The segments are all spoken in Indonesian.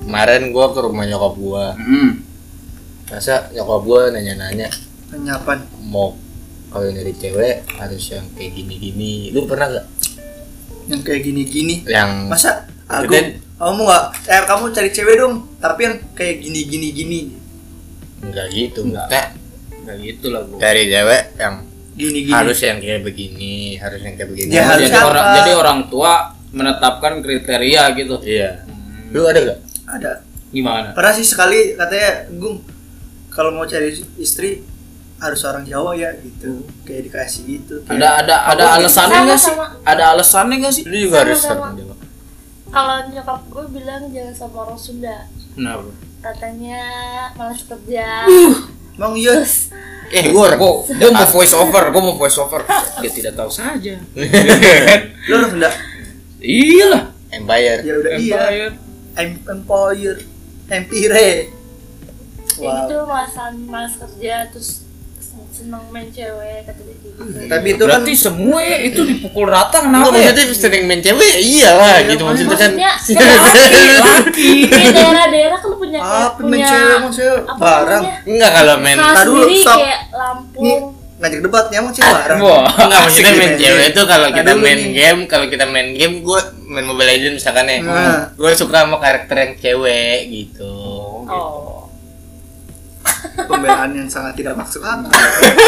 kemarin gua ke rumah nyokap gua Hmm. Mm. masa nyokap gua nanya-nanya Kenyapan. mau kalau dari cewek harus yang kayak gini-gini lu pernah gak Yang kayak gini-gini. yang Masa aku Dan- kamu nggak eh kamu cari cewek dong, tapi yang kayak gini-gini gini. enggak gitu Enggak. enggak Nggak gitu lah gua. dari cewek yang Gini-gini. harus yang kayak begini harus yang kayak begini Ya, Oh, harus jadi apa? orang jadi orang tua menetapkan kriteria gitu. iya lu ada gak Ada. Gimana? Pernah sih sekali katanya, "Gung, kalau mau cari istri harus orang Jawa ya." gitu. Kayak dikasih gitu. Ada ada ada Aku- alasannya Sama, nggak sih? sama. Ada alasannya nggak sih? lu juga harus Sama-sama. orang Jawa. Kalau nyokap gue bilang jangan sama orang Sunda. Kenapa? Katanya malas kerja. Emang iya. eh gua Gua, gua mau voice over gua mau voice over dia tidak tahu saja. Lu orang Sunda. Iyalah. empire Ya udah iya. Empire. Em- Empire. Empire. Ya Wow. gitu malasan malas kerja terus sen- seneng main cewek katanya gitu. Tapi itu kan Berarti semua ya itu dipukul rata Lu kenapa ya? maksudnya sering main cewek? Iya lah gitu maksudnya kan Maksudnya kan Laki. di daerah-daerah kan punya kayak apa main punya Ah, cewek emang cewek apa barang. namanya? Enggak kalau main Kelas Ntar dulu, sendiri stop. kayak Nih Lampung. ngajak debatnya emang cewek barang. Wah. Enggak maksudnya Asik main gitu ya. cewek itu kalau kita Aduh, main nih. game, kalau kita main game gue main Mobile Legends misalkan ya. Nah. Gue suka sama karakter yang cewek gitu. Oh. Pembelaan yang sangat tidak maksud akal.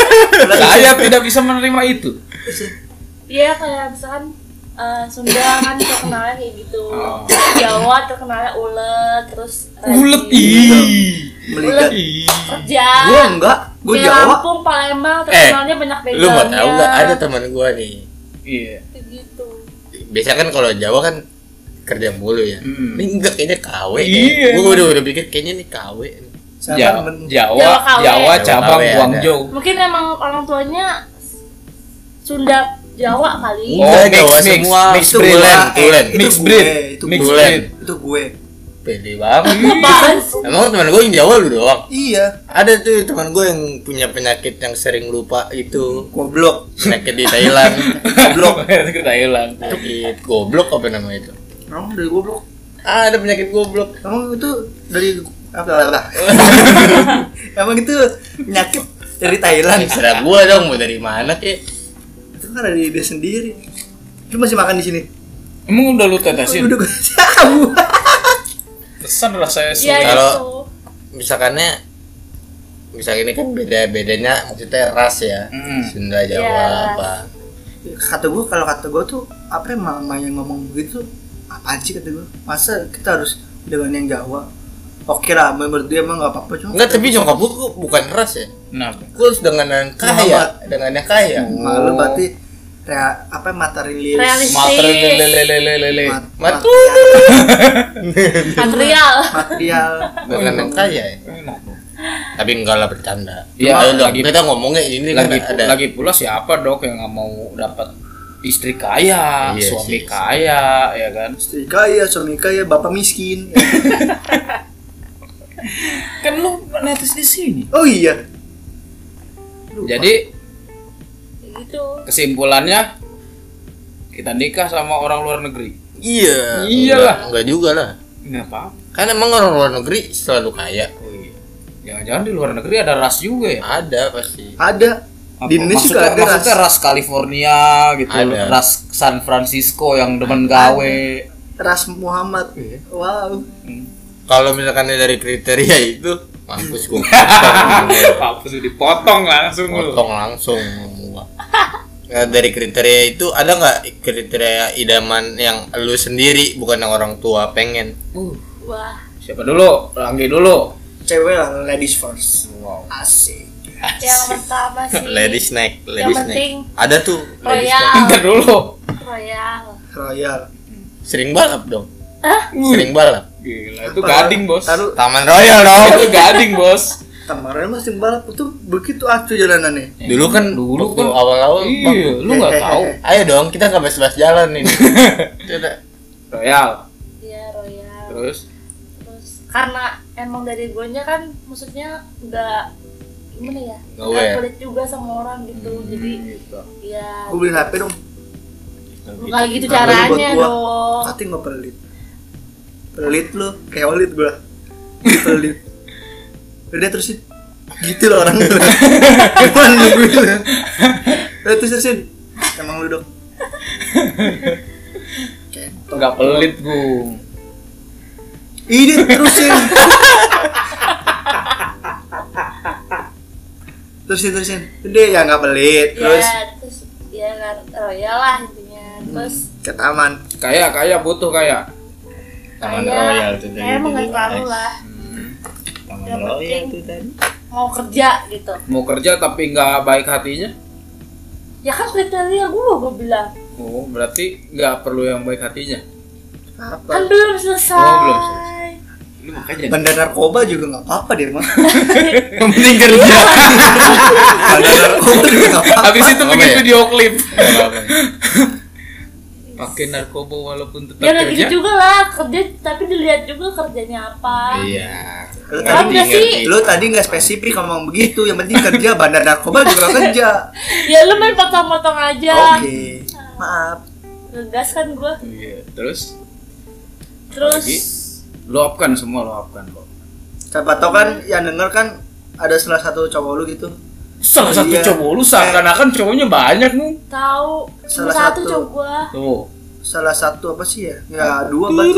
Saya tidak bisa menerima itu. Iya kayak misalkan eh, Sunda kan terkenalnya kayak gitu. Oh. Jawa terkenalnya ulet terus Ulet iya rajin. ih. Melihat kerja. iya. Gua enggak, gua Kayak Jawa. Lampung, Palembang terkenalnya banyak ya. Eh, Lu begalnya. mau tahu nggak ada teman gue nih. Iya. Kayak gitu. Biasanya kan kalau Jawa kan kerja mulu ya. Mm. Ini enggak kayaknya KW. Iya. Gue udah udah pikir kayaknya ini KW. Siapa Jawa, kan men- Jawa, Jawa Jawa, KW. cabang Jawa KW ada. Guangzhou. Mungkin emang orang tuanya Sunda Jawa kali. Oh, mix, Jawa mix, semua. mix Itu breed. tulen, Eh, tulen. itu Mix gue, breed. itu Mix gue. breed. Itu gue. Pede banget. Apaan sih? Emang teman gue yang Jawa lu doang. Iya, Ada tuh teman gue yang punya penyakit yang sering lupa itu goblok. penyakit di Thailand. Goblok. Kita hilang. penyakit goblok apa nama itu? Emang dari goblok. Ah, ada penyakit goblok. Emang itu dari apa apa. Emang itu penyakit dari Thailand. Terserah gua dong mau dari mana kek. Itu kan dari dia sendiri. Lu masih makan di sini? Emang udah lu tetesin? Udah gue tahu. Pesan rasanya Iya sulit. Kalau- itu. Misalkannya misalkan ini kan beda bedanya maksudnya ras ya. Mm. Sunda Jawa Iya, ras. apa. Kata gue kalau kata gue tuh apa yang mama yang ngomong begitu apaan sih kata gue? Masa kita harus dengan yang Jawa? Oke lah, menurut dia emang gak apa-apa cuma Enggak tapi nyokap gua gua bukan ras ya. Kenapa? Gua harus dengan yang kaya, dengan yang kaya. Mm. Oh. malu berarti rea, apa materialis Realis- Matre lelelelelele. Iya. mat, Mat- Iya. material, Material. material. Dengan yang kaya ya. Kenapa? Tapi enggak lah bercanda. Iya, Iya, udah lagi- kita ngomongnya ini kan Lagi ada. lagi pula siapa dok yang nggak mau dapat istri kaya, Iya sih. suami kaya, ya kan? istri kaya suami kaya bapak miskin Kan lu netes di sini. oh iya Jadi Kayak gitu. kesimpulannya kita nikah sama orang luar negeri. Iya. Iyalah. Enggak, enggak juga lah. Nggak apa-apa. Kan emang orang luar negeri selalu kaya. Oh iya. Jangan-jangan di luar negeri ada ras juga ya? Ada pasti. ada Apa? di Indonesia juga maksudnya, ada ras maksudnya ras California gitu, Ada. ras San Francisco yang demen gawe. ras Muhammad Iya. wow Hmm. Kalau misalkan dari kriteria itu mampus gua. Apa sih dipotong langsung lu. potong langsung semua. Nah, dari kriteria itu ada nggak kriteria idaman yang lu sendiri bukan yang orang tua pengen? Uh, Wah. siapa dulu? Ranggi dulu. cewek lah ladies first Wow. asik Yang pertama sih. Ladies snack, ladies snack. penting Oh, iya. Ada tuh ladies snack. royal. Bentar dulu. Royal. royal Sering balap dong. Hah? Uh. Sering balap. Gila, itu gading, Bos. taruh Taman Royal dong. Itu gading, Bos. kemarin masih balap itu begitu acuh jalanannya Dulu kan Dulu waktu kan- awal-awal Iya, lu nggak tahu. Ayo dong, kita nggak bebas jalan ini. Coba. Royal. Iya royal. Terus terus karena emang dari guanya kan maksudnya nggak gimana ya Nggak nggak aware. pelit juga sama orang gitu jadi gitu. ya gue beli HP dong bukan gitu Nggak boleh caranya Oh. buat gua. dong hati nggak pelit pelit lu kayak olit gua pelit udah terusin gitu loh orang cuman nungguin lu udah terus terusin emang lu dok Kayak- Enggak pelit gue. ini terusin terusin terusin udah ya nggak pelit terus ya terus ya nggak royal lah intinya terus ke taman Kayak kayak butuh kayak. Taman kayak- Royal tuh tadi kayak emang nggak di- terlalu lah Taman Yang Royal penting tuh tadi. mau kerja gitu Mau kerja tapi nggak baik hatinya. ya kan kriteria gue gue bilang Oh, berarti nggak perlu yang baik hatinya. kan apa belum selesai Oh, belum selesai. Lu makanya. bandar narkoba juga nggak apa-apa dia mah Yang penting kerja. bandar narkoba juga nggak apa-apa Habis itu Apa bikin ya? video klip. Pakai narkoba walaupun tetap ya nggak gitu kerja. juga lah kerja tapi dilihat juga kerjanya apa Iya. Lu Ngerti, tadi- ngerti. lu tadi nggak spesifik ngomong begitu yang penting kerja bandar narkoba juga nggak kerja ya lu main potong-potong aja oke maaf ngegas kan gue Iya, terus terus Lagi? luapkan semua luapkan kok. siapa tau kan yang denger kan ada salah satu cowok lu gitu Salah satu Iya. cowok lu seakan-akan cowoknya banyak nih. tahu Salah salah satu, satu. cowok gue Tuh. salah satu apa sih ya ya dua berarti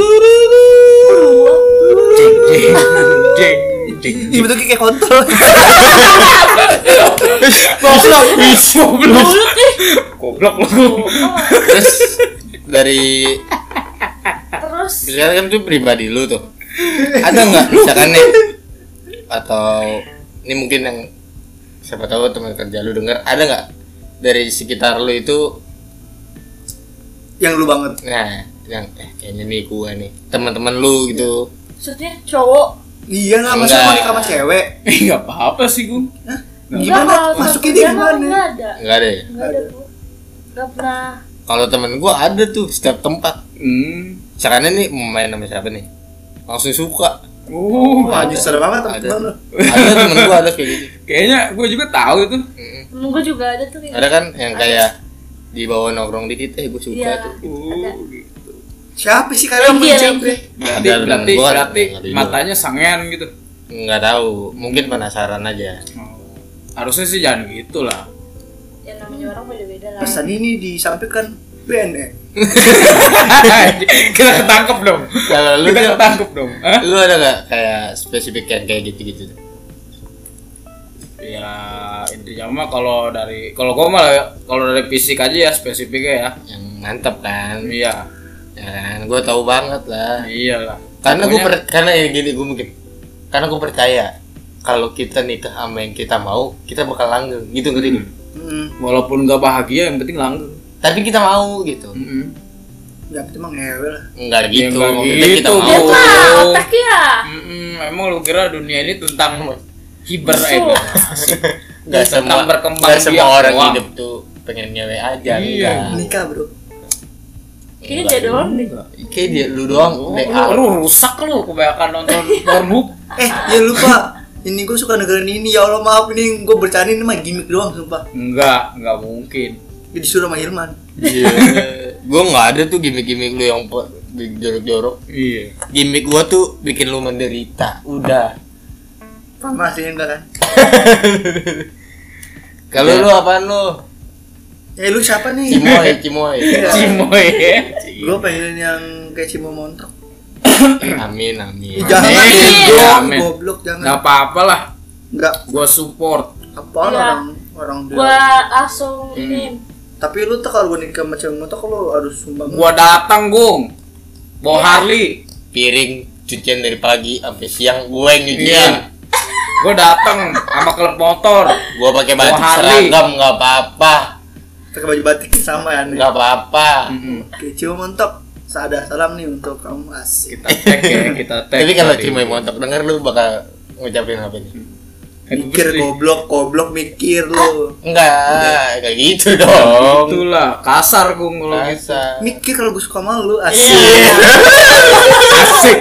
Jeng jeng jeng jeng. Ih, bentuknya kayak kontol Goblok. Goblok. Goblok lu. Terus dari terus misalkan kan itu pribadi lu tuh. Ada nggak misalkan nih atau ini mungkin yang siapa tahu teman kerja lu dengar ada nggak dari sekitar lu itu yang lu banget nah yang eh, kayaknya nih gua nih teman-teman lu gitu maksudnya cowok iya lah masa mau Enggak. nikah sama cewek Enggak apa-apa sih gua. gimana Enggak, kalau masuknya kerja dia mah nggak gimana ada nggak ada ya nggak ada gue nggak pernah kalau temen gua ada tuh setiap tempat Hmm. caranya nih mau main sama siapa nih langsung suka Uh, wah nyusul banget ada teman lu ada temen gua ada kayak gitu kayaknya gue juga tahu itu. Mm-mm. temen gue juga ada tuh kayak gitu. ada kan yang kayak di bawah nongkrong dikit eh gua suka Iya. tuh Uh, gitu. siapa sih kalian Lagi, punya Iya, lagi. cewek Berarti Ada berarti temen gua, berarti ada juga. matanya sangean gitu. nggak tahu mungkin Hmm. penasaran aja Harusnya sih jangan gitu lah. yang namanya orang beda-beda lah pesan ini disampaikan E. BNN Eh, Kita ketangkep dong. kalau lu Kita Jal, ketangkep dong. eh? Hah? lu ada nggak kayak spesifik yang kayak gitu gitu Ya intinya mah kalau dari kalau gue malah kalau dari fisik aja ya spesifiknya ya. yang mantap kan Iya. ya kan gua tahu banget lah Iyalah. karena gue Pokoknya- per karena ya gini gue mungkin karena gue percaya kalau kita nikah sama yang kita mau kita bakal langgeng gitu ngerti nggak? hmm walaupun gak bahagia yang penting langgeng. tapi kita mau gitu Heeh. ya itu emang ngewe lah enggak Ya, gitu nggak maksudnya kita gitu, mau Bu. ah otak ya Emang lu kira dunia ini tentang hiber eh, Betul. nggak Tentang semua berkembang nggak semua biak orang doang. hidup tuh pengen nyewe aja Iya. enggak. nikah bro kayaknya dia doang deh kayak dia lu doang Lu, BA. lu, lu rusak lu kebanyakan nonton Pornhub. eh jangan lupa ini gue suka dengerin ini ya Allah maaf ini gue bercanda ini mah gimmick doang sumpah Enggak, enggak mungkin. Gue disuruh sama Hilman Iya. gue nggak ada tuh gimmick-gimmick lu yang pe- jorok-jorok Iya. gimmick gue tuh bikin lu menderita udah sama aslinya enggak kan kalau lu apaan lu eh lu siapa nih cimoy cimoy Cimoy ya. gue pengen yang kayak Cimo Montok amin amin Ih, jangan Amin. dong, Amin. goblok Enggak jangan apa-apa lah, enggak gua support. apa Iya. orang orang gue bilang Hmm. langsung ini tapi lu tuh kalau gua nikah sama cewek montok lu harus sumbang Gua datang, Gung. Bawa Harley. piring cucian dari pagi sampai siang gue yang nyuciin Iya. Gua datang sama klub motor. gue pakai baju Oh, Harley. seragam nggak apa-apa pakai baju batik sama ya nih nggak apa-apa oke Cimo Montok ada salam nih untuk kamu asik Kita tag ya, kita tag. tapi kalau Hari. cimoy montok denger lu bakal ngucapin apa nih mikir Bener. goblok goblok mikir lu enggak kayak gitu dong Itulah, kasar Gung kalau gitu. Masa. mikir kalau gue suka sama lu asik Ah. Iya. Asik.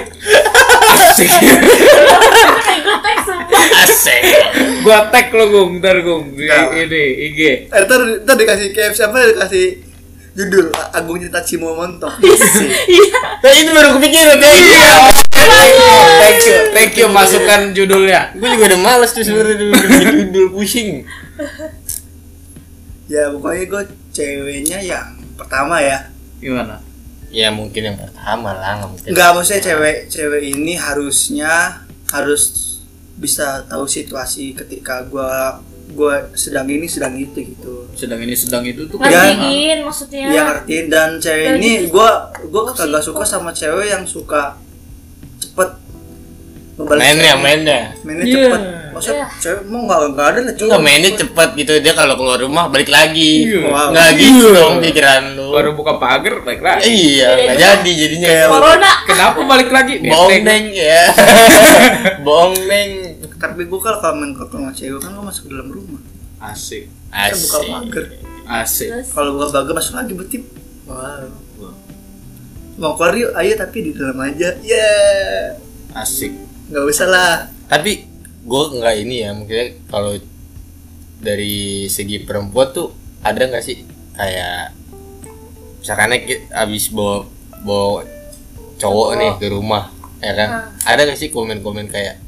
Asik. eh gue tag semua asik gua tag lu Gung, ntar Gung. Di- Ini IG. Eh, ntar, ntar dikasih KFC apa dikasih judul A- Agung cerita Cimo Montok Iya. Nah, itu baru kepikiran ya. Iya. Thank you, thank you masukkan judulnya. Gue juga udah males tuh sebenarnya dulu judul pusing. ya pokoknya gue ceweknya yang pertama ya Gimana? Ya mungkin yang pertama lah nggak mungkin. nggak maksudnya cewek cewek ini harusnya harus bisa tahu situasi ketika gue gue sedang ini sedang itu gitu Sedang ini sedang itu tuh Nggak. kan Ngertiin maksudnya. Iya ngerti dan Ya. Dan cewek ini gitu. gua gua Oh, kagak sih. suka sama cewek yang suka cepet ngebales Mainnya cewek. mainnya. mainnya Iya. cepet maksud Iya. cewek mau nggak nggak ada lah cowok Enggak mainnya cepet gitu dia kalau keluar rumah balik lagi. Iya. Wow. Nggak gitu dong pikiran lu. baru buka pagar balik lagi. Iya, nggak jadi jadinya. Corona. Kenapa balik lagi? Bohong Bete. neng ya. Bohong neng. tapi gua kalau kalau main ke rumah cewek kan gua masuk ke dalam rumah Asik. kan buka Asik. pagar Asik. Terus kalau buka pagar masuk lagi berarti wow mau keluar yuk ayo tapi di dalam aja ya Asik. nggak usah lah Tapi gue nggak ini ya mungkin kalau dari segi perempuan tuh ada nggak sih kayak misalkan ki- abis bawa bawa cowok nih ke rumah ya kan Ah. ada nggak sih komen-komen kayak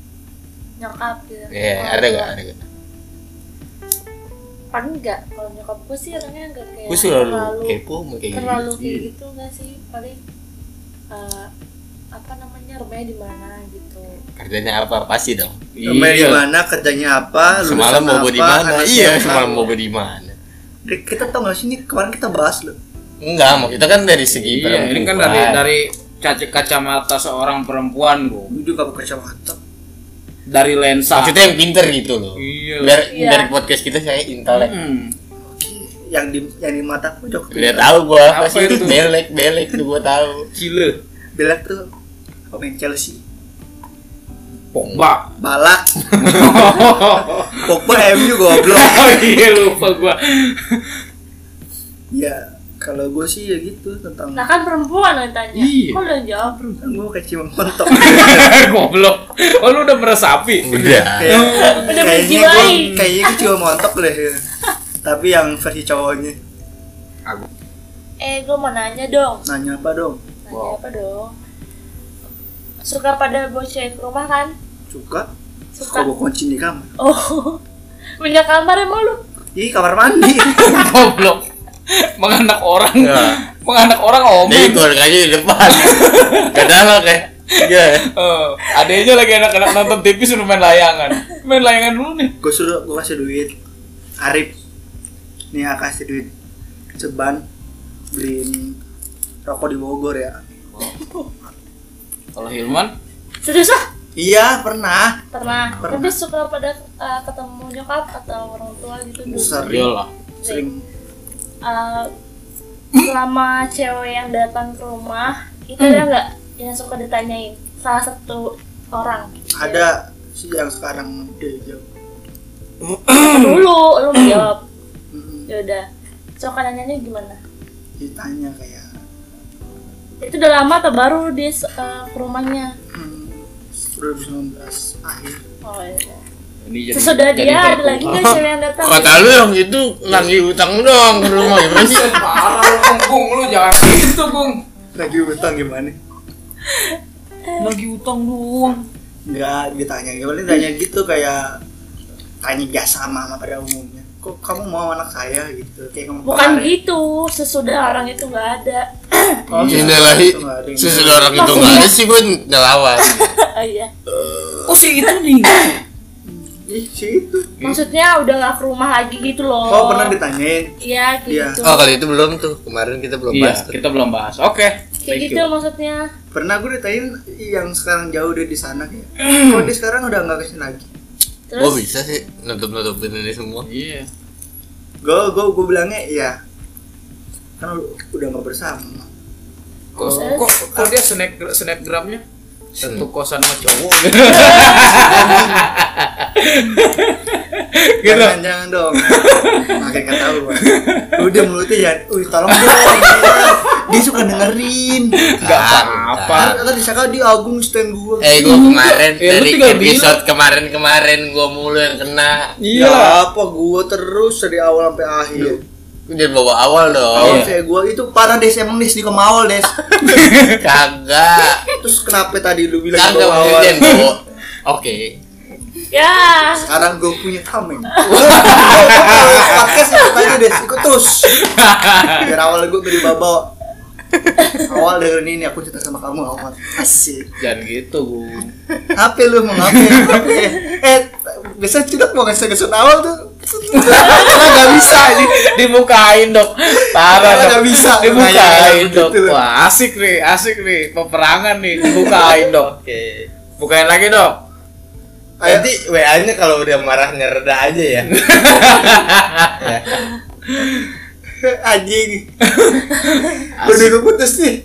nyokap gitu. ya ada nggak ada nggak Kan enggak kalau nyokap gue sih orangnya enggak kayak gue selalu terlalu- kepo sama kayak gitu terlalu Iya. kayak gitu nggak sih paling eh, apa namanya rumahnya di mana gitu Hmm. kerjanya apa pasti dong main Iya. di mana kerjanya apa lulusan Iya. semalam bobo di apa, mana anaknya iya apa. semalam bobo di mana Dek, kita tau gak sih ini kemarin kita bahas loh enggak mau kita kan dari segi Iya, ini kan dari perempuan. dari kaca kacamata seorang perempuan, Bu. Gue juga pakai kacamata Dari lensa. maksudnya yang pinter gitu loh Iya. biar Iya. dari podcast kita saya intelek Hmm. yang di yang di mata pojok tuh. Udah tahu gua Apa pasti itu? belek belek tuh gua tahu. Cile. Belak tuh pemain Chelsea. Pogba. Balak. Pogba MU goblok. Oh iya lupa gua. ya kalau gue sih ya gitu tentang nah kan perempuan yang tanya Iya. kok udah jawab gue kayak cuma mentok. Goblok. Oh lu udah meresapi. Udah. Kayak- kayaknya Udah gue menjiwai. kayaknya gue cuma montok deh. ya. Tapi yang versi cowoknya Nah, eh gue mau nanya dong nanya apa dong? nanya apa dong suka pada bawa cewek ke rumah kan Suka? Suka suka gue kunci di kamar. oh punya kamar emang lu Ih kamar mandi. Kan Goblok. Menganak orang. Ya. Menganak orang Jadi omeng. keluarganya di depan. Gak ada kayak. Iya. Eh, adanya lagi anak-anak nonton TV suruh main layangan. Main layangan dulu nih. gue suruh gue kasih duit. Arif. Nih aku kasih duit. Ceban beliin rokok di Bogor ya. Kalau Hilman, serius ah Iya pernah. pernah Pernah. tapi suka pada eh, ketemu nyokap atau orang tua gitu dulu Sering. iyalah. sering Eh, selama cewek yang datang ke rumah itu ada nggak yang suka ditanyain salah satu orang ada sih yang sekarang dia jauh dulu lu jawab Mm-mm. ya udah suka nanyanya gimana ditanya kayak itu udah lama atau baru dia eh, ke rumahnya hmm, 2019 akhir oh iya. Ini jadi sesudah jadi dia ada terpuruk. lagi nggak cewek yang datang Kata lu yang itu nagih utang doang ke rumah ya, gimana sih? Iya, Parah lu, Bung, lu jangan gitu, Bung. lagi utang gimana Lagi utang doang. enggak ditanya gimana tanya gitu kayak tanya biasa sama mama pada umumnya kok kamu mau anak saya gitu kayak kamu bukan gitu sesudah orang itu nggak ada Innalillahi. Sesudah orang itu nggak ada sih gua ngelawan. oh, iya Oh si itu nih. ih sih itu maksudnya udah nggak ke rumah lagi gitu loh oh pernah ditanyain iya Iya. gitu Oh kalau itu belum tuh kemarin kita belum Iya, bahas. tuh. kita belum bahas. Oke. kayak thank gitu you. maksudnya pernah gue ditanyain yang sekarang jauh dia di sana kayak kok dia sekarang udah nggak kesini lagi Gua terus bisa sih nutup nutupin ini semua. Iya. gue gue gue bilangnya iya kan udah nggak bersama Kok, kok, kok dia snap snapgramnya? Iya. Satu kosan sama cowok. gitu. Jangan, jangan dong. Makin gak tahu gua. Udah mulutnya ya. Wih, tolong dong. dia suka dengerin. Gak Ah, apa-apa. bentar. Kan Kata disangka dia Agung stand gua. Eh gua kemarin Ya, lu dari tinggal episode Iya. iya. kemarin-kemarin gua mulu yang kena. Ya apa gua terus dari awal sampai akhir. Udah bawa awal Kalau dong. Iya. cewek gue itu parah des emang des di kemawal des. Kagak. Terus kenapa tadi lu bilang Kagak bawa maksudnya awal? bawa. Oke. Ya. Sekarang gue punya tameng. Podcast ikut aja des ikut terus. Ya. Biar awal gue beri bawa. Awal dengerin ini aku cerita sama kamu awal. Asik. Jangan gitu, Bu. HP lu mau HP. Eh, eh biasa cedok mau ngasih kesun awal tuh. Karena gak bisa ini. Dibukain, Dok. Parah, Nggak Dok. bisa. Dibukain, Nggak Dok. gitu. Wah, asik nih, asik nih. Peperangan nih, dibukain, Dok. Oke. Bukain lagi, Dok. Ayo. Nanti WA-nya kalau udah marahnya reda aja ya. Ya. Anjing. Udah gue putus nih.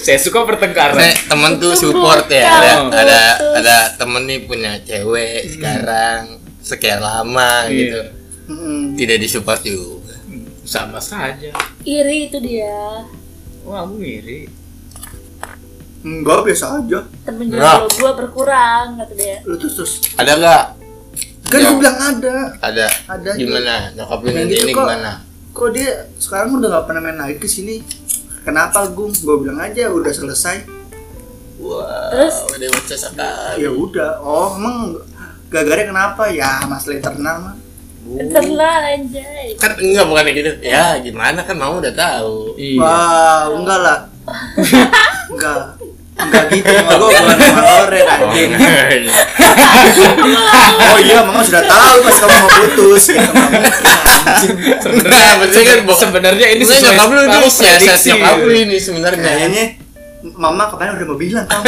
Saya suka bertengkar. Karena temen tuh support ya. Ada Betul. ada ada temen nih punya cewek sekarang sekian lama Iya. gitu. Hmm. Tidak disupport juga. Sama saja. Iri itu dia. Wah, lu ngiri. Enggak biasa aja. Temen Nah. jomblo gue berkurang kata dia. Lu terus terus. Ada nggak? Kan Ya. gue bilang ada. Ada. Ada. Gimana? Nyokap lu Yang nanti gitu ini kok. gimana? Kok dia sekarang udah gak pernah main lagi ke sini? Kenapa Gung? Gue bilang aja udah selesai. Wah, Terus? dewasa sekali. Ya udah. Oh emang gagarnya kenapa? Ya masalah internal mah. Internal anjay. Kan enggak bukan gitu. Ya, gimana kan mau udah tahu. Iya. Wah, enggak lah. enggak. Enggak gitu, mah gue bukan sama Loren anjing. Oh iya, mama sudah tahu pas kamu mau putus. Ya, nggak mungkin, anjing. Nah, maksudnya kan bo- sebenarnya ini Enggak, sesuai nyokap lu ini tahu siasat prediksi. nyokap lu ini sebenarnya. Kayaknya mama kemarin udah mau bilang kamu.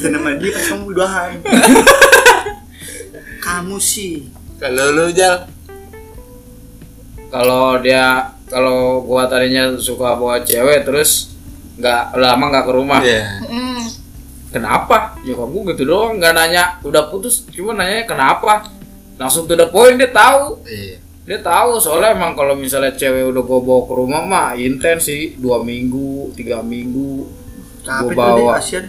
Dan sama dia pas kamu udahan. Kamu sih. Kalau lu jal, kalau dia kalau gua tadinya suka bawa cewek terus nggak lama nggak ke rumah Iya. Mm. kenapa nyokap gua gitu doang nggak nanya udah putus cuma nanya kenapa langsung to the point dia tahu Iya. dia tahu soalnya emang kalau misalnya cewek udah gua bawa ke rumah mah intens sih dua minggu tiga minggu Capek Gua tuh dia bawa. kasihan.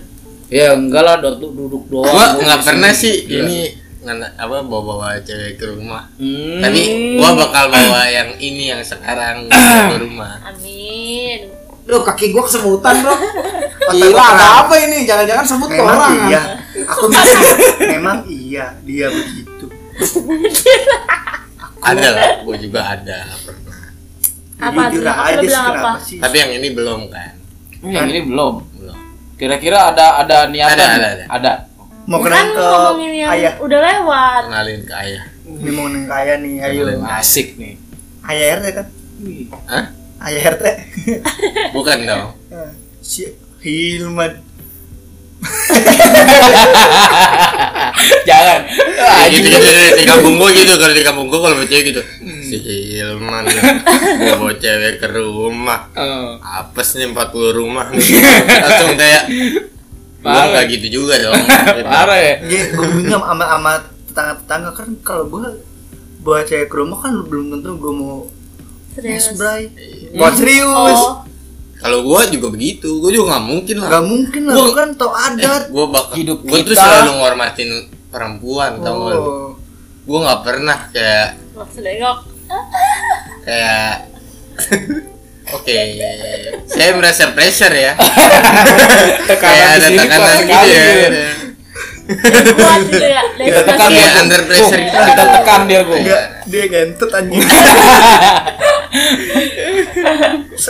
ya enggak lah duduk duduk doang Gua Gua nggak di pernah sini. sih Iya. ini ngana- apa bawa-bawa cewek ke rumah. Hmm. Tapi gua bakal bawa yang ini yang sekarang gua ke rumah. Amin. Loh kaki gua kesemutan bro Otak Gila gua ada terang. apa ini? Jangan-jangan sebut ke Memang orang iya. Aku mikir, memang iya dia begitu. Ada lah, gua juga ada pernah. Apa Jujur tuh? Apa aja lu sih, bilang apa? kenapa sih? Tapi yang ini belum kan? Hmm, yang ini belum Belum. kira-kira ada ada niatan Ada, ada, ada. Mau kan kenal ke ngomongin yang ayah. udah lewat. Kenalin ke ayah. Ini mau kenalin ke ayah nih, ayo. Kenalin. asik nih Ayah RT kan? Hah? Ayah RT. Bukan dong. Si Hilman. jangan Ya, gitu gitu gitu. di kampung gua gitu kalau di kampung gua kalau bocah gitu si Hilman gua bawa cewek ke rumah Eh, apes nih 40 rumah nih langsung kayak gua Parah. nggak gitu juga dong parah ya Iya, gue bingung sama sama tetangga-tetangga kan kalau gue bawa cewek ke rumah kan belum tentu gue mau Mas Serius. Bray. Iya. Gua serius. Oh, kalau gua juga begitu gua juga nggak mungkin lah Gak mungkin lah, Gua- lu kan tau adat. gua bakal Hidup gua tuh kita. selalu ngormatin perempuan tau gak lu Oh. gua nggak pernah kayak langsung nengok. kayak Oke, saya merasa pressure ya. Kayak ada di sini tekanan gitu kuat sekali ya. gitu. Kuat gitu ya. Dari kita tekan Iya, atas dia Gung. under pressure Gung, kita. kita tekan dia gue Enggak, dia ganteng anjing.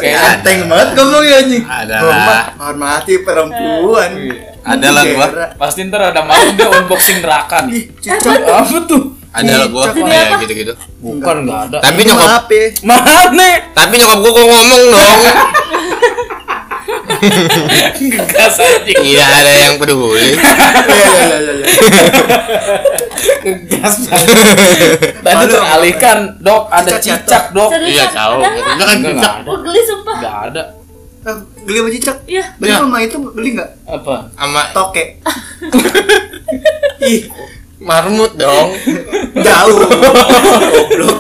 Ganteng banget ngomongnya anjing. Ada. Eh, Hormat, hormati perempuan. Ada lah gua. Bendera. pasti ntar ada malam dia unboxing neraka nih Ih, cicak. apa tuh ada lah gua kayak gitu-gitu bukan nggak ada tapi Ini nyokap maaf ya. mana nih tapi nyokap gua kok ngomong dong ngegas aja tidak Iya, ada yang peduli Iya, iya, iya, iya. ngegas banget. tadi Aduh. teralihkan dok ada Cicak jatuh. cicak dok Serius, iya ada tahu nggak? itu kan Enggak, cicak enggak ada Gue geli sumpah. nggak ada Eh, Beli sama cicak. Iya. Beli Iya. sama itu beli nggak? apa sama Toke. Ih, marmut dong jauh goblok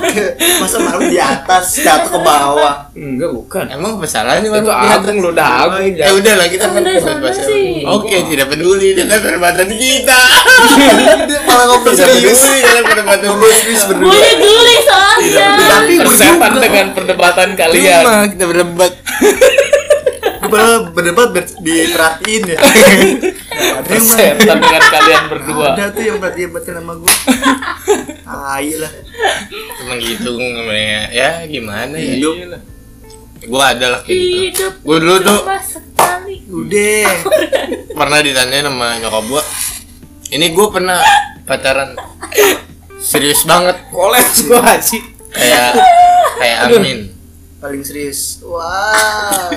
masa marmut di atas jatuh ke bawah Enggak bukan. emang kesalahan Itu marmut di atas? agung lo dagung. ya udahlah kita Kan dari sana bahasa- sih. oke tidak peduli dengan perdebatan kita dia malah ngobrol tidak serius peduli dengan perdebatan ngobrol serius berdua Boleh dulu soalnya. tapi gue Tersetan juga dengan perdebatan kalian. cuma kita berdebat gue malah berdebat ber- diperhatiin ya Gak ada yang Tersetan dengan kalian berdua. ada tuh yang berarti debatin sama gue ah iyalah emang gitu namanya ya gimana ya hidup Iya. gue ada lah kayak gitu Hidup. gue dulu tuh Cuma sekali. udah pernah ditanya sama nyokap gue ini gue pernah pacaran serius banget Koles gua haji. kayak kayak Amin paling serius wow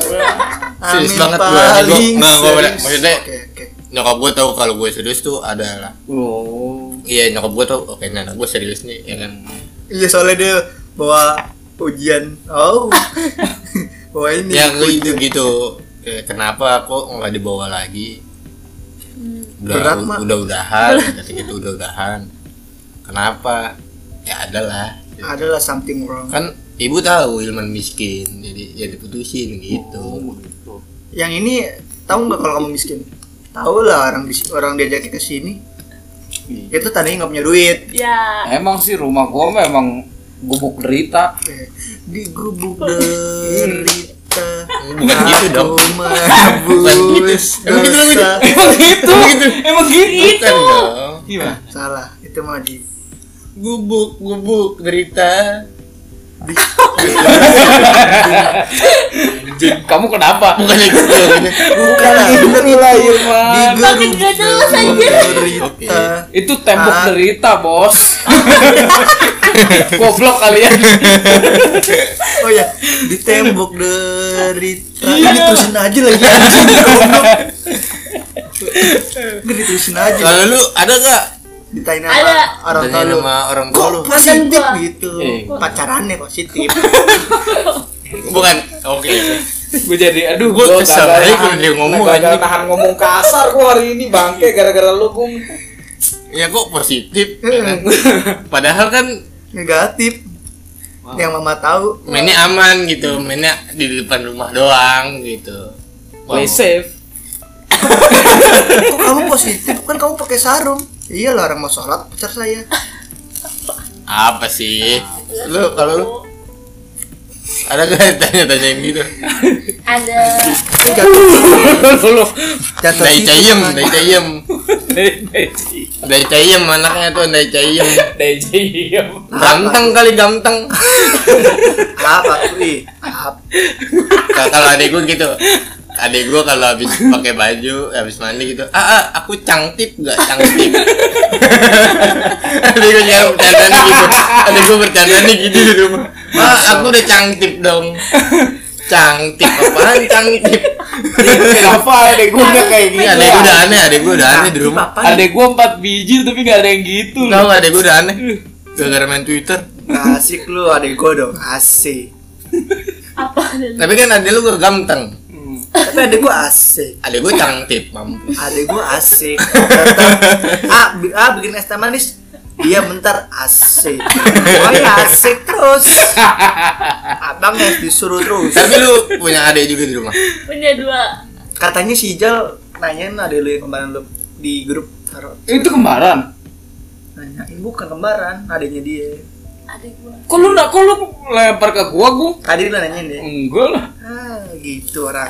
Serius Amin, banget gua. Nah, paling Gua- nggak, gua serius. bener. Maksudnya- Oke, oke. nyokap gue tahu kalau gue serius tuh ada lah Oh. iya nyokap gue tahu oke anak gue serius nih ya kan iya soalnya dia bawa ujian oh bawa ini ya gitu gitu Kayak kenapa kok nggak dibawa lagi Hmm. udah Berat, Mak. udah udahan kata gitu udah udahan kenapa ya adalah adalah something wrong kan ibu tahu Ilman miskin jadi ya diputusin Oh, gitu yang ini tahu nggak kalau kamu miskin tahu lah orang bis- orang diajak ke sini Iya. itu tandanya nggak punya duit Ya. Emang sih rumah gua memang gubuk derita. di gubuk derita Iya. bukan gitu dong aku menebus Emang gitu, emang gitu. dosa Emang gitu. Emang gitu. bukan dong Gimana? salah itu mah di gubuk gubuk derita Kamu kenapa? bukan gitu bukan lah Iya, Inilah Irfan. di Makin gak jelas aja. gubuk Oke. derita Itu tembok Ah. derita, Bos. Goblok ya. kalian. oh ya di tembok derita Iya. ini diterusin aja lagi anjing Nggak diterusin aja kalau lu ada gak ditanyain sama orang Ada. tua Tanya lu sama orang tua kok lu positif Mantan gua. gitu Eh. pacarannya positif bukan oke gue jadi aduh Gua gua kesel gagal aja nahan- kalau dia ngomong, gagal anjing. nahan ngomong kasar gua hari ini bangke gara-gara lu kum ya kok positif ya Hmm. kan? padahal kan negatif yang mama tahu mainnya aman gitu mainnya di depan rumah doang gitu Wow. play safe kok kamu positif kan kamu pakai sarung iya lah orang mau sholat pacar saya apa sih lu kalau lu ada gak tanya-tanya gitu Ada. Eh, jatuh lu lu jatuh dari situ, kan. cayem Mang. dari cayem dari cayem anaknya tuh dari cayem Dejiem ganteng kali ganteng apa tuh ih apa Nah, kalau adik gue gitu adik gue kalau habis pakai baju habis mandi gitu ah, ah, aku cangtip gak cangtip adik gue jangan bercanda nih gitu adik gue bercanda nih gitu di rumah ah, aku udah cangtip dong cangtip apaan cangtip kenapa adek gue nggak kayak Iya, adik gue udah aneh adik gue udah aneh di rumah adek gue empat biji tapi nggak ada yang gitu tau gak adik gue udah aneh gara-gara main twitter Nggak asik lu adek gue dong asik Apa? tapi kan adik lu gak ganteng tapi adek gue asik adik gue cangtip mampus adek gue asik Bentar. ah, bi- ah bikin es teh manis Iya bentar asik Pokoknya asik terus Abang es disuruh terus tapi lu punya adik juga di rumah Punya dua. Katanya si Jal nanyain adek lu yang kemarin lu di grup taruh itu kembaran Nanyain bukan kembaran adiknya dia Adik gua. kok lu nak kok lu lempar ke gua gua Tadi lu nanyain deh enggak lah Ah gitu orang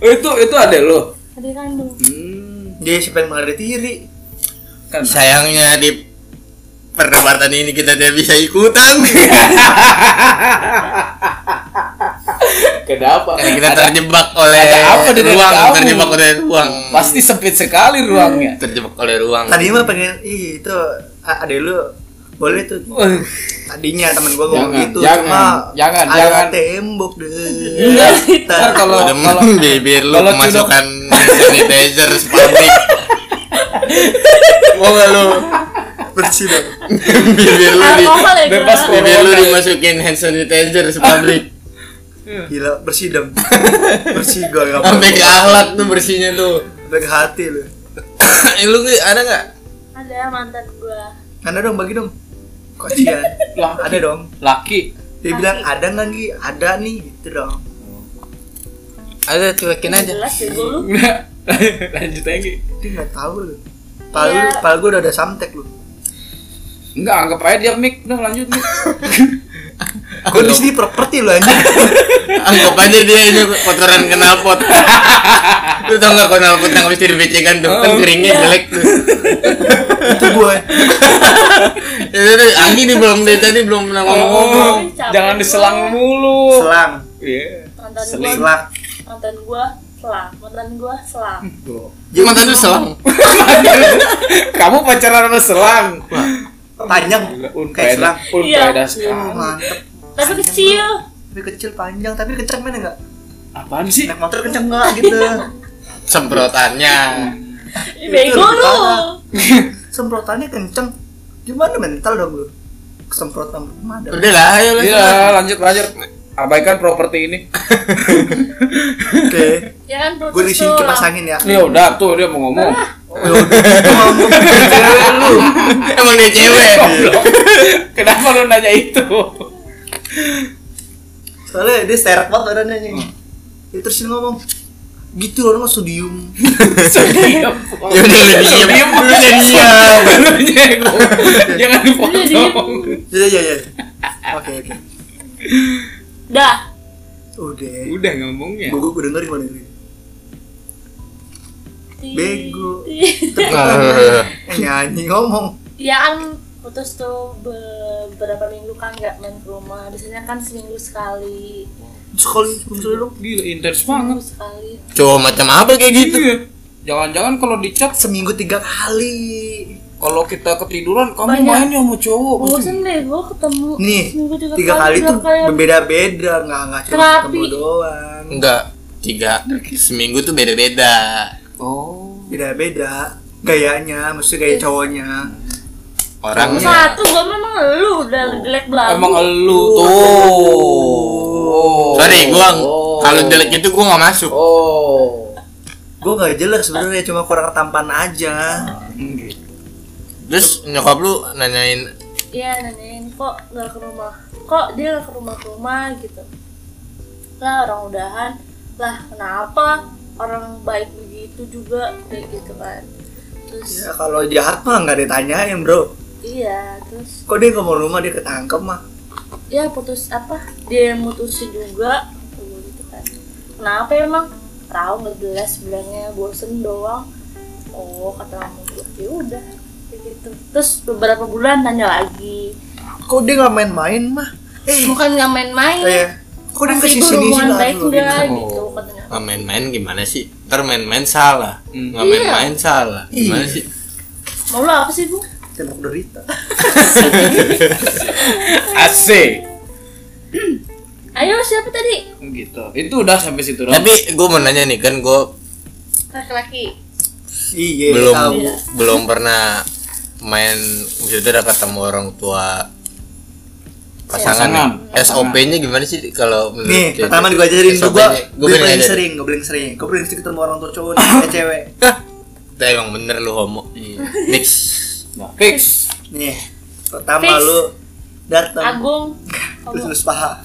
Oh, itu itu adek lu Adik kandung. hmm, Dia siapa yang mengenai tiri kan Sayangnya di perdebatan ini kita tidak bisa ikutan kenapa karena kita Ada- terjebak oleh ada apa di dalam ruang, kamu? terjebak oleh ruang, pasti sempit sekali ruangnya terjebak oleh ruang. Tadi mah pengen Ih itu ah, adek lu boleh tuh tadinya temen gue ngomong Jangan, gitu jangan, cuma jangan, ada jangan. Iya. tembok deh Iya. Ntar kalau Udah kalau bibir lu kalau kemasukan sanitizer seperti mau nggak lu bersih dong bibir lu di Alkohol ya bebas gua. kok. bibir lu dimasukin hand sanitizer sepabrik Iya. gila bersih dong bersih gue gak sampai mau ke ahlak tuh bersihnya tuh sampai ke hati lu lu Ki, ada nggak ada mantan gua Ada dong bagi dong. Kocian. Lah, ada dong. laki Dia bilang ada nggak Gi? Ada nih gitu dong. ada cuekin aja jelas ya gua lu lanjut lagi Dia nggak tahu lu. Pal, Iya. pal gue udah ada samtek lu. enggak anggap aja dia mik udah lanjut mik Gue di sini properti lu anjing. anggap aja dia ini kotoran knalpot lu tau nggak knalpot yang habis diribecekan tuh Oh, kan keringnya iya. jelek tuh itu gue. itu tuh Ya, Anggi nih belum dari tadi belum pernah ngomong-ngomong oh, jangan diselang mulu Selang, iya mantan Seling. selak. gua mantan gua selang mantan gua selang Hmm. Cuma tadi selang kamu pacaran sama selang Panjang. Kayak unfaedah selang. Oh, unfaedah Iya. sekali Mantep. tapi kecil Tapi kecil panjang tapi kenceng mana nggak? apaan sih Naik motor kenceng nggak gitu? semprotannya Hmm. Ih, bego lebih lu parah. Semprotannya kenceng. Gimana mental dong lu? Kesemprot sama rumah ada. udah lah ayo lah iya lanjut lanjut abaikan properti ini Oke. ya kan putus Gue di sini tuh kipas lama. angin ya. ini udah tuh dia mau ngomong emang dia Oh, cewek Ya Goblok. kenapa lu nanya itu Soalnya dia seret banget orangnya anjing. Dia terus dia ngomong gitu orang langsung diem Diam. ya udah lu diam Diam. lu jadi Iya, diam Barunya gua. jangan dipotong Iya iya iya. Oke oke. dah Udah. udah ngomongnya Gue gue dengerin gue dengerin. Bego. Iya. Eh, nyanyi ngomong. ya kan putus tuh beberapa minggu kan nggak main ke rumah biasanya kan seminggu sekali Sekali sekali dong. gila intens banget seminggu sekali cowok macam apa kayak gitu Iya. Jangan-jangan kalau dicat Seminggu tiga kali. kalau kita ketiduran kamu Banyak. mainnya sama cowok. bosen deh gua ketemu Nih seminggu tiga kali udah tuh kayak berbeda-beda nggak nggak cuma ya? Terapi. ketemu doang. enggak tiga seminggu tuh beda-beda Oh. Beda-beda gayanya, maksudnya gaya cowoknya. orangnya satu gua memang lu udah jelek belagu Emang elu tuh. Oh. sorry gua Oh. kalau jelek itu gua nggak masuk Oh. Gue nggak jelas sebenarnya cuma kurang tampan aja. terus nyokap lu nanyain Iya nanyain kok nggak ke rumah, kok dia nggak ke rumah ke rumah gitu. Lah orang udahan, lah kenapa orang baik begitu juga kayak gitu kan. Terus Ya kalau jahat mah nggak ditanyain bro. iya terus Kok dia nggak mau rumah dia ketangkep mah. ya putus apa dia yang mutusin juga gitu kan. Kenapa emang? Tahu nggak jelas bilangnya bosen doang. Oh kata kamu ya udah kayak gitu. Terus beberapa bulan tanya lagi, Kok dia nggak main-main mah? Eh, bukan nggak main-main. eh, kok dia ke masih sini sih berhubungan lah, baik aduh, udah gitu. gitu katanya nggak main-main gimana sih ntar main-main salah Hmm. nggak main-main salah gimana Iya. sih mau lo apa sih bu Tembok derita. Asik. ayo siapa tadi Gitu. Itu udah sampai situ doang. tapi gua mau nanya nih kan gua laki-laki Iya. belum tahu. belum pernah main maksudnya udah ketemu orang tua pasangan, Pasangan. SOP-nya gimana sih kalau menurut gitu? Nih, cewek? pertama gue ajarin dulu gue. SOP-nya, Gue pengen paling ajarin. sering, gue paling sering. Gue paling sering ketemu orang tua cowok nih, eh, cewek. Dah, emang bener lu homo. Nix. Nah, fix. Nih, pertama Fix. lu datang, Agung lu tulus paha.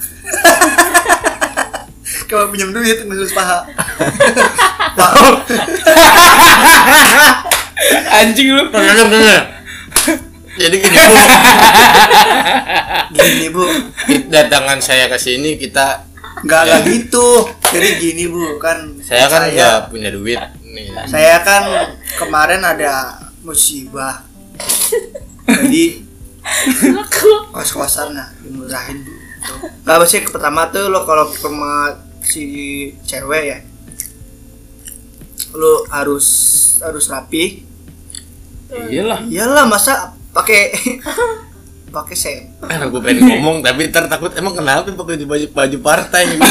Kamu pinjam duit, lu tulus paha. Wow, Anjing lu. Bener bener. Jadi gini bu, gini bu, datangan saya ke sini kita nggak nggak gitu. Jadi gini bu, kan saya kan saya, nggak punya duit nih. saya kan kemarin ada musibah. Jadi aku kos-kosan lah dimurahin dulu nggak apa sih pertama tuh lo kalau ke rumah si cewek ya lo harus harus rapi Iyalah. iyalah masa pakai pakai sem Gue pengen ngomong tapi ntar takut emang kenapa pakai baju baju partai? Gue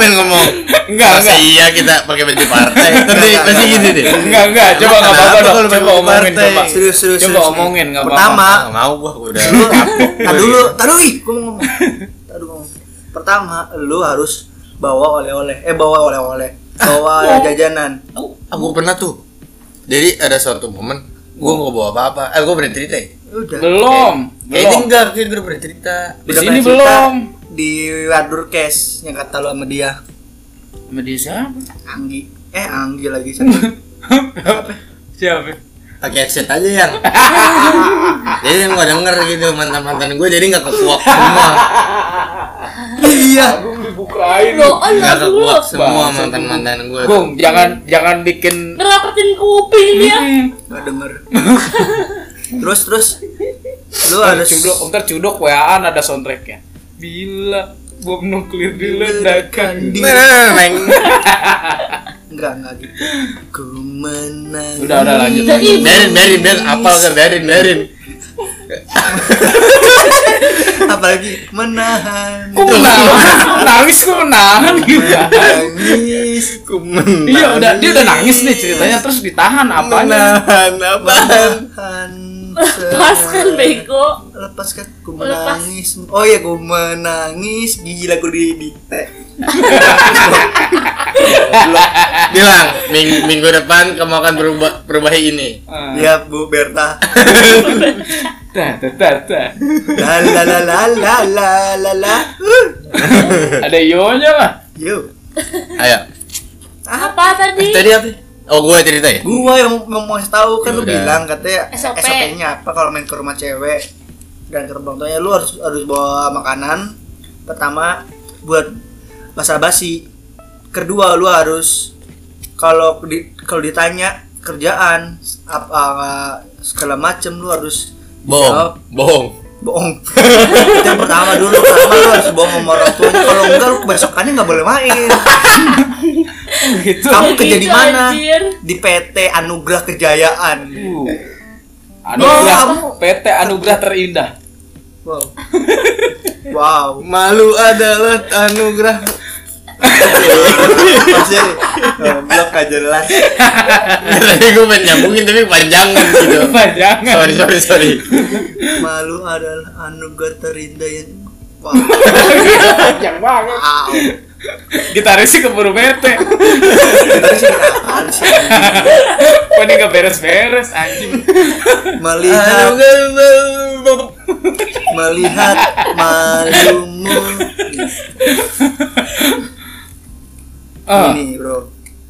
pengen ngomong. Enggak, Masa enggak. iya kita pakai baju partai. Tapi Enggak, pasti enggak, gini deh. Enggak, enggak. Coba Emang enggak apa-apa kenapa dong. kalau Coba main omongin partai? coba. serius serius Coba serius. omongin enggak apa-apa. pertama Nggak mau gua gua udah. lu tadi dulu tadi ih gue mau ngomong tadi ngomong pertama lu harus bawa oleh-oleh eh bawa oleh-oleh bawa jajanan Aku pernah tuh Jadi ada suatu momen gue nggak bawa apa-apa. Eh gue pernah cerita ya? Udah. belum Kayaknya belum enggak, kayaknya gue pernah cerita. di Udah sini pernah cerita belum Di Wadur Cash yang kata lu sama dia. sama dia siapa Anggi. Eh Anggi lagi siapa? siapa Pakai headset aja yang. jadi yang gue denger gitu mantan-mantan gue jadi nggak kekuak semua. iya. dibukain Doon Nggak langsung lu kekuak semua Bangsa, mantan-mantan gue. Gung, jangan jangan bikin ngerapetin kuping Iya. dia Gak denger. terus terus lu ada cudok, ntar cudok waan ada soundtracknya. Bila bom nuklir diledakkan kan di. Enggak, enggak gitu. Ku menang. Udah udah lanjut. Udah, ih, Biarin, biarin, biarin, apal kan biarin, biarin. Apalagi menahan. Kok menahan? Nangis kok menahan gitu. Nangis. Kumen. Iya udah dia udah nangis nih ceritanya terus ditahan apanya? Menahan apaan? Menahan. Iya. pas kan bego Lepaskan ku Lepas. menangis. Oh iya ku menangis. Gila ku di di. Eh, Bilang minggu, minggu depan kamu akan berubah perubahi ini. Ah. Ya Bu Berta. Dah dah dah dah. La la la la la la la la. Uh. Ada ionya lah. Yo. Ah, Ayo. apa tadi Tadi apa? Oh gue cerita ya. Gua yang yang mau tahu kan lu Yaudah. bilang katanya SOP. SOP-nya apa kalau main ke rumah cewek dan ke rumah tuanya lu harus harus bawa makanan pertama buat basa basi kedua lu harus kalau di, kalau ditanya kerjaan apa segala macem lu harus jawab Bohong, bohong. bohong itu yang pertama dulu pertama lu harus bohong sama orang tua kalau enggak lu kebesokannya nggak boleh main Gitu. kamu kerja di Gitu, mana anjir. di PT Anugerah Kejayaan Uh. Anugerah PT Anugerah Terindah. wow wow Malu adalah anugerah. Iya, Masih eh, blok gak jelas Tadi gue pengen nyambungin tapi panjangan gitu. Jangan. Sorry, sorry, sorry. malu adalah anugerah terindah yang wow Panjang banget. wow Gitarisnya keburu bete. Itu sih apaan sih? Kok ini gak beres-beres anjing. melihat melihat malumu Ah. ini bro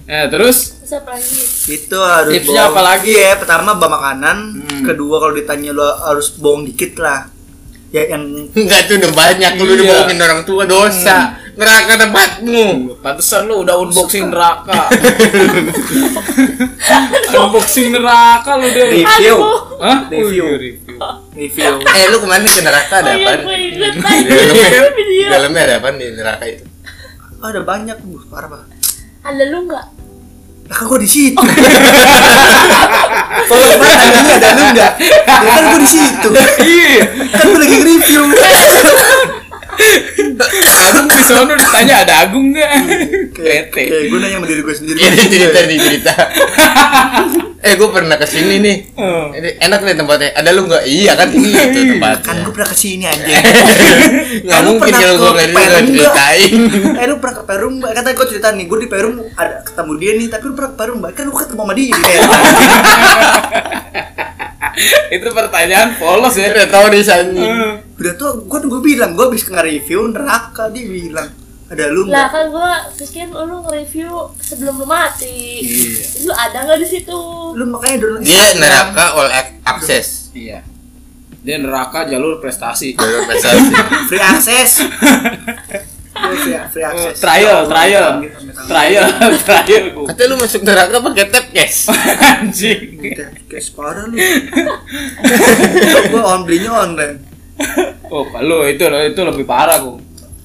Nah, terus Terus apa lagi itu harus Tipsnya apa bohong. lagi? Iya, pertama bawa makanan Hmm. kedua kalau ditanya lo harus bohong dikit lah ya yang Enggak tuh udah banyak lu udah Iya. bohongin orang tua dosa. Neraka tempatmu. Pantesan lu udah unboxing neraka. unboxing neraka lu dia. review aduh Hah? Review. Wih, review. review Eh lu kemarin ke neraka ada oh iya apaan? gue inget tadi Dalamnya, video dalamnya ada apaan di neraka itu? oh, ada banyak bu parah pak ada lu nggak Lah kan gua di situ. Oh. Kalau kemarin ada lu ada lu enggak? Ya kan gua di situ. Iya. Kan gua lagi review. Agung di sono ditanya ada Agung enggak? Bete. Kayak gua nanya sama diri gua sendiri. Iya, Ini Iya, cerita nih cerita. eh gue pernah kesini nih. Oh. Ini enak nih tempatnya. Ada lu nggak? Iya kan ini itu tempatnya. Kan gua pernah kesini Iya. anjing. Nggak Kan lu mungkin pernah kalau gue ke nggak Perum nggak nggak? ceritain. Eh lu pernah ke Perum mbak? Kata gua cerita nih, gua di Perum ada ketemu dia nih, tapi lu pernah ke Perum mbak? Kan lu ketemu sama dia. Kayak, Itu pertanyaan polos ya. Udah tahu di sana. Udah tuh gua gua bilang gua habis nge-review neraka dia bilang ada lu enggak? lah kan gue pikir lu nge-review sebelum lu mati lu ada nggak di situ Lu makanya dulu Dia neraka all ac- access. Iya. Dia neraka jalur prestasi. Jalur prestasi. free access. Dia Free, free access. Gitu, Trial, trial. Oh, Trial, trial. Gung. Katanya lu masuk neraka pakai tap cash. Anjing. Kayak parah lu. Gue on belinya online. Oh, lu itu itu lebih parah, Gung.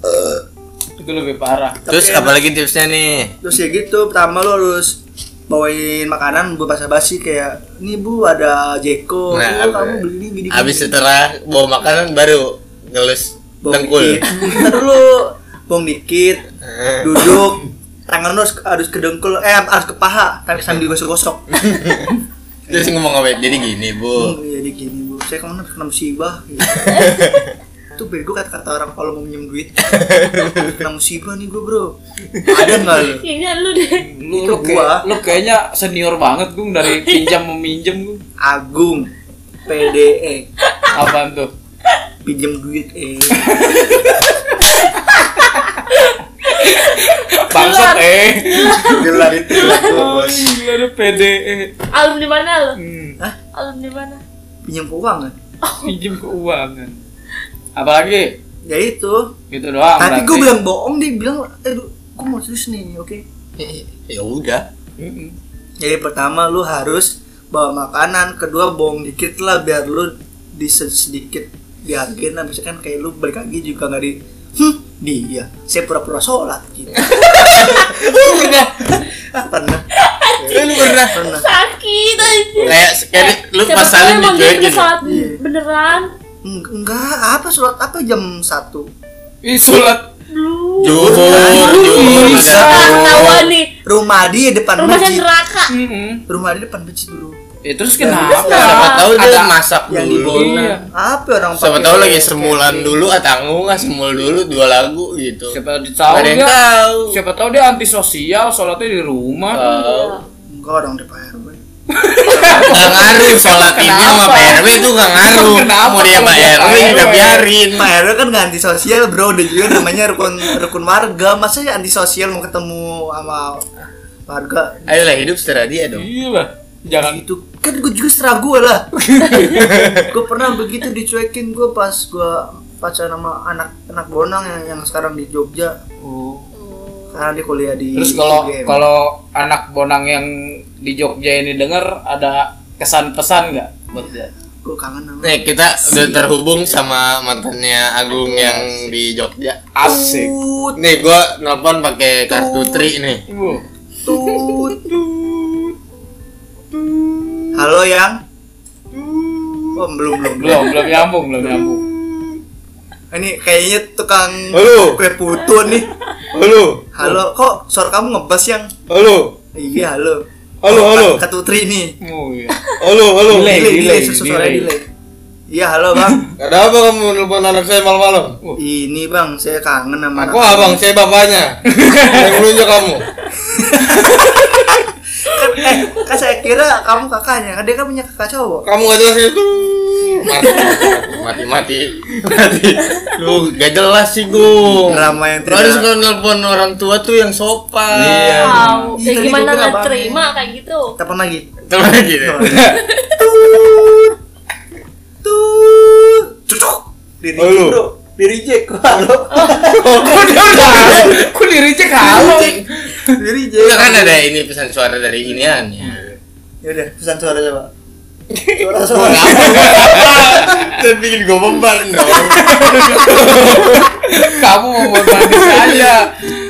Eh. Itu lebih parah. Terus Tapi enak. apalagi tipsnya nih? Terus ya gitu, pertama lu harus bawain makanan buat basa basi kayak nih bu ada jeko, Nah, "Oh, kamu beli ini gini. Habis setelah bawa makanan baru ngelus dengkul. Kita dulu bong dikit, Eh. iya. duduk, tangan lu harus, harus ke dengkul, eh harus ke paha, tapi Eh. sambil gosok-gosok. Terus ngomong apa? Jadi gini bu. iya, Hmm, jadi gini bu, saya kemana kena musibah. Gitu. tuh bego kata-kata orang kalau mau minjem duit nah musibah nih gue bro ada nggak lu Kayaknya lu deh. Lu, Itu lu, kayak, gua. lu kayaknya senior banget gue dari pinjam meminjam gue. Agung PDE Apaan tuh? pinjem duit eh Bangsat eh. Gelar itu gelar gua, Oh, bos. gila ada PDE. Alum di mana lu? Hmm, Alum di mana? pinjam eh. keuangan pinjam keuangan. Apalagi ya itu gitu doang. tapi gue berarti. bilang bohong dia bilang eh gue mau serius nih oke ya udah Mm-mm. jadi pertama lu harus bawa makanan kedua bohong dikit lah biar lu di sedikit dihargain lah misalkan kayak lu balik lagi juga nggak di hmm dia saya pura-pura sholat gitu pernah Ah, pernah Eh, lu pernah pernah Sakit aja. kayak kayak lu Siapa pas gitu. tahu saling emang dia punya dicuekin sholat Iya. beneran. Eng- enggak apa sholat apa jam satu Ih sulat. Blue. Juhur, juhur, Bisa. ada Ah, juhur. ketahuan nih. rumah dia depan Rumahnya masjid neraka. Iya. Mm-mm. rumah dia depan masjid dulu Ya terus Ya, siapa kenapa? tahu dia Ada- masak yang di dulu Bona Iya. apa orang siapa pakai- tahu lagi semulan dulu atau nggak semul dulu dua lagu gitu Siapa tahu Nggak ada yang dia tahu Siapa tahu dia antisosial, sholatnya di rumah. Tahu. enggak orang depan RW nggak ngaruh sholat ini sama Kenapa? Pak RW tuh nggak ngaruh Kenapa mau dia kalau Pak dia RW Pak kita RW? biarin Pak RW kan nggak antisosial bro dan juga namanya rukun rukun warga masa ya antisosial mau ketemu sama warga ayolah hidup secara dia dong Gila. Jangan itu kan gue juga serah gue lah gue pernah begitu dicuekin gue pas gue pacaran sama anak anak bonang yang, yang sekarang di Jogja Oh. karena dia kuliah di Terus kalau UGM. kalau anak bonang yang di Jogja ini denger ada kesan pesan nggak buat dia? gue kangen sama nih kita udah terhubung sama mantannya Agung yang di Jogja Asik. tut nih gua nelpon pakai kartu tri nih Wuh. tut halo yang oh belum belum belum Belum belum nyambung belum nyambung. ini kayaknya tukang Halo. kue putu nih halo halo kok suara kamu ngebas yang halo Iya, halo. Halo, halo. Katutri nih. Oh, iya. halo halo Delay, ya? delay, susu suara delay. delay. Iya, halo, Bang. ada apa kamu nelpon anak saya malam-malam Ini, Bang, saya kangen sama Aku anak- abang, saya bapaknya. Yang menunjuk kamu. Eh, kan saya kira kamu kakaknya. Kan dia kan punya kakak cowok. Kamu gak jelas itu. Mati, mati, mati, mati. Lu gak jelas sih gue. Drama yang Lu tidak. harus kalau nelpon orang tua tuh yang sopan. Iya. Wow. Iya, Ya tadi gimana gua bilang nggak apa? terima kayak gitu? Telepon lagi. Terus lagi deh. Iya. Tuh. Cucuk. Di reject, Halo. Bro. Di reject. Halo. Oh, Kok dia udah? Kok di reject halo? Di reject. Enggak kan ada ini pesan suara dari inian ya. Ya udah, pesan suara coba. Suara suara. Dan bikin gue beban dong. Iya. Kamu mau buat manis aja.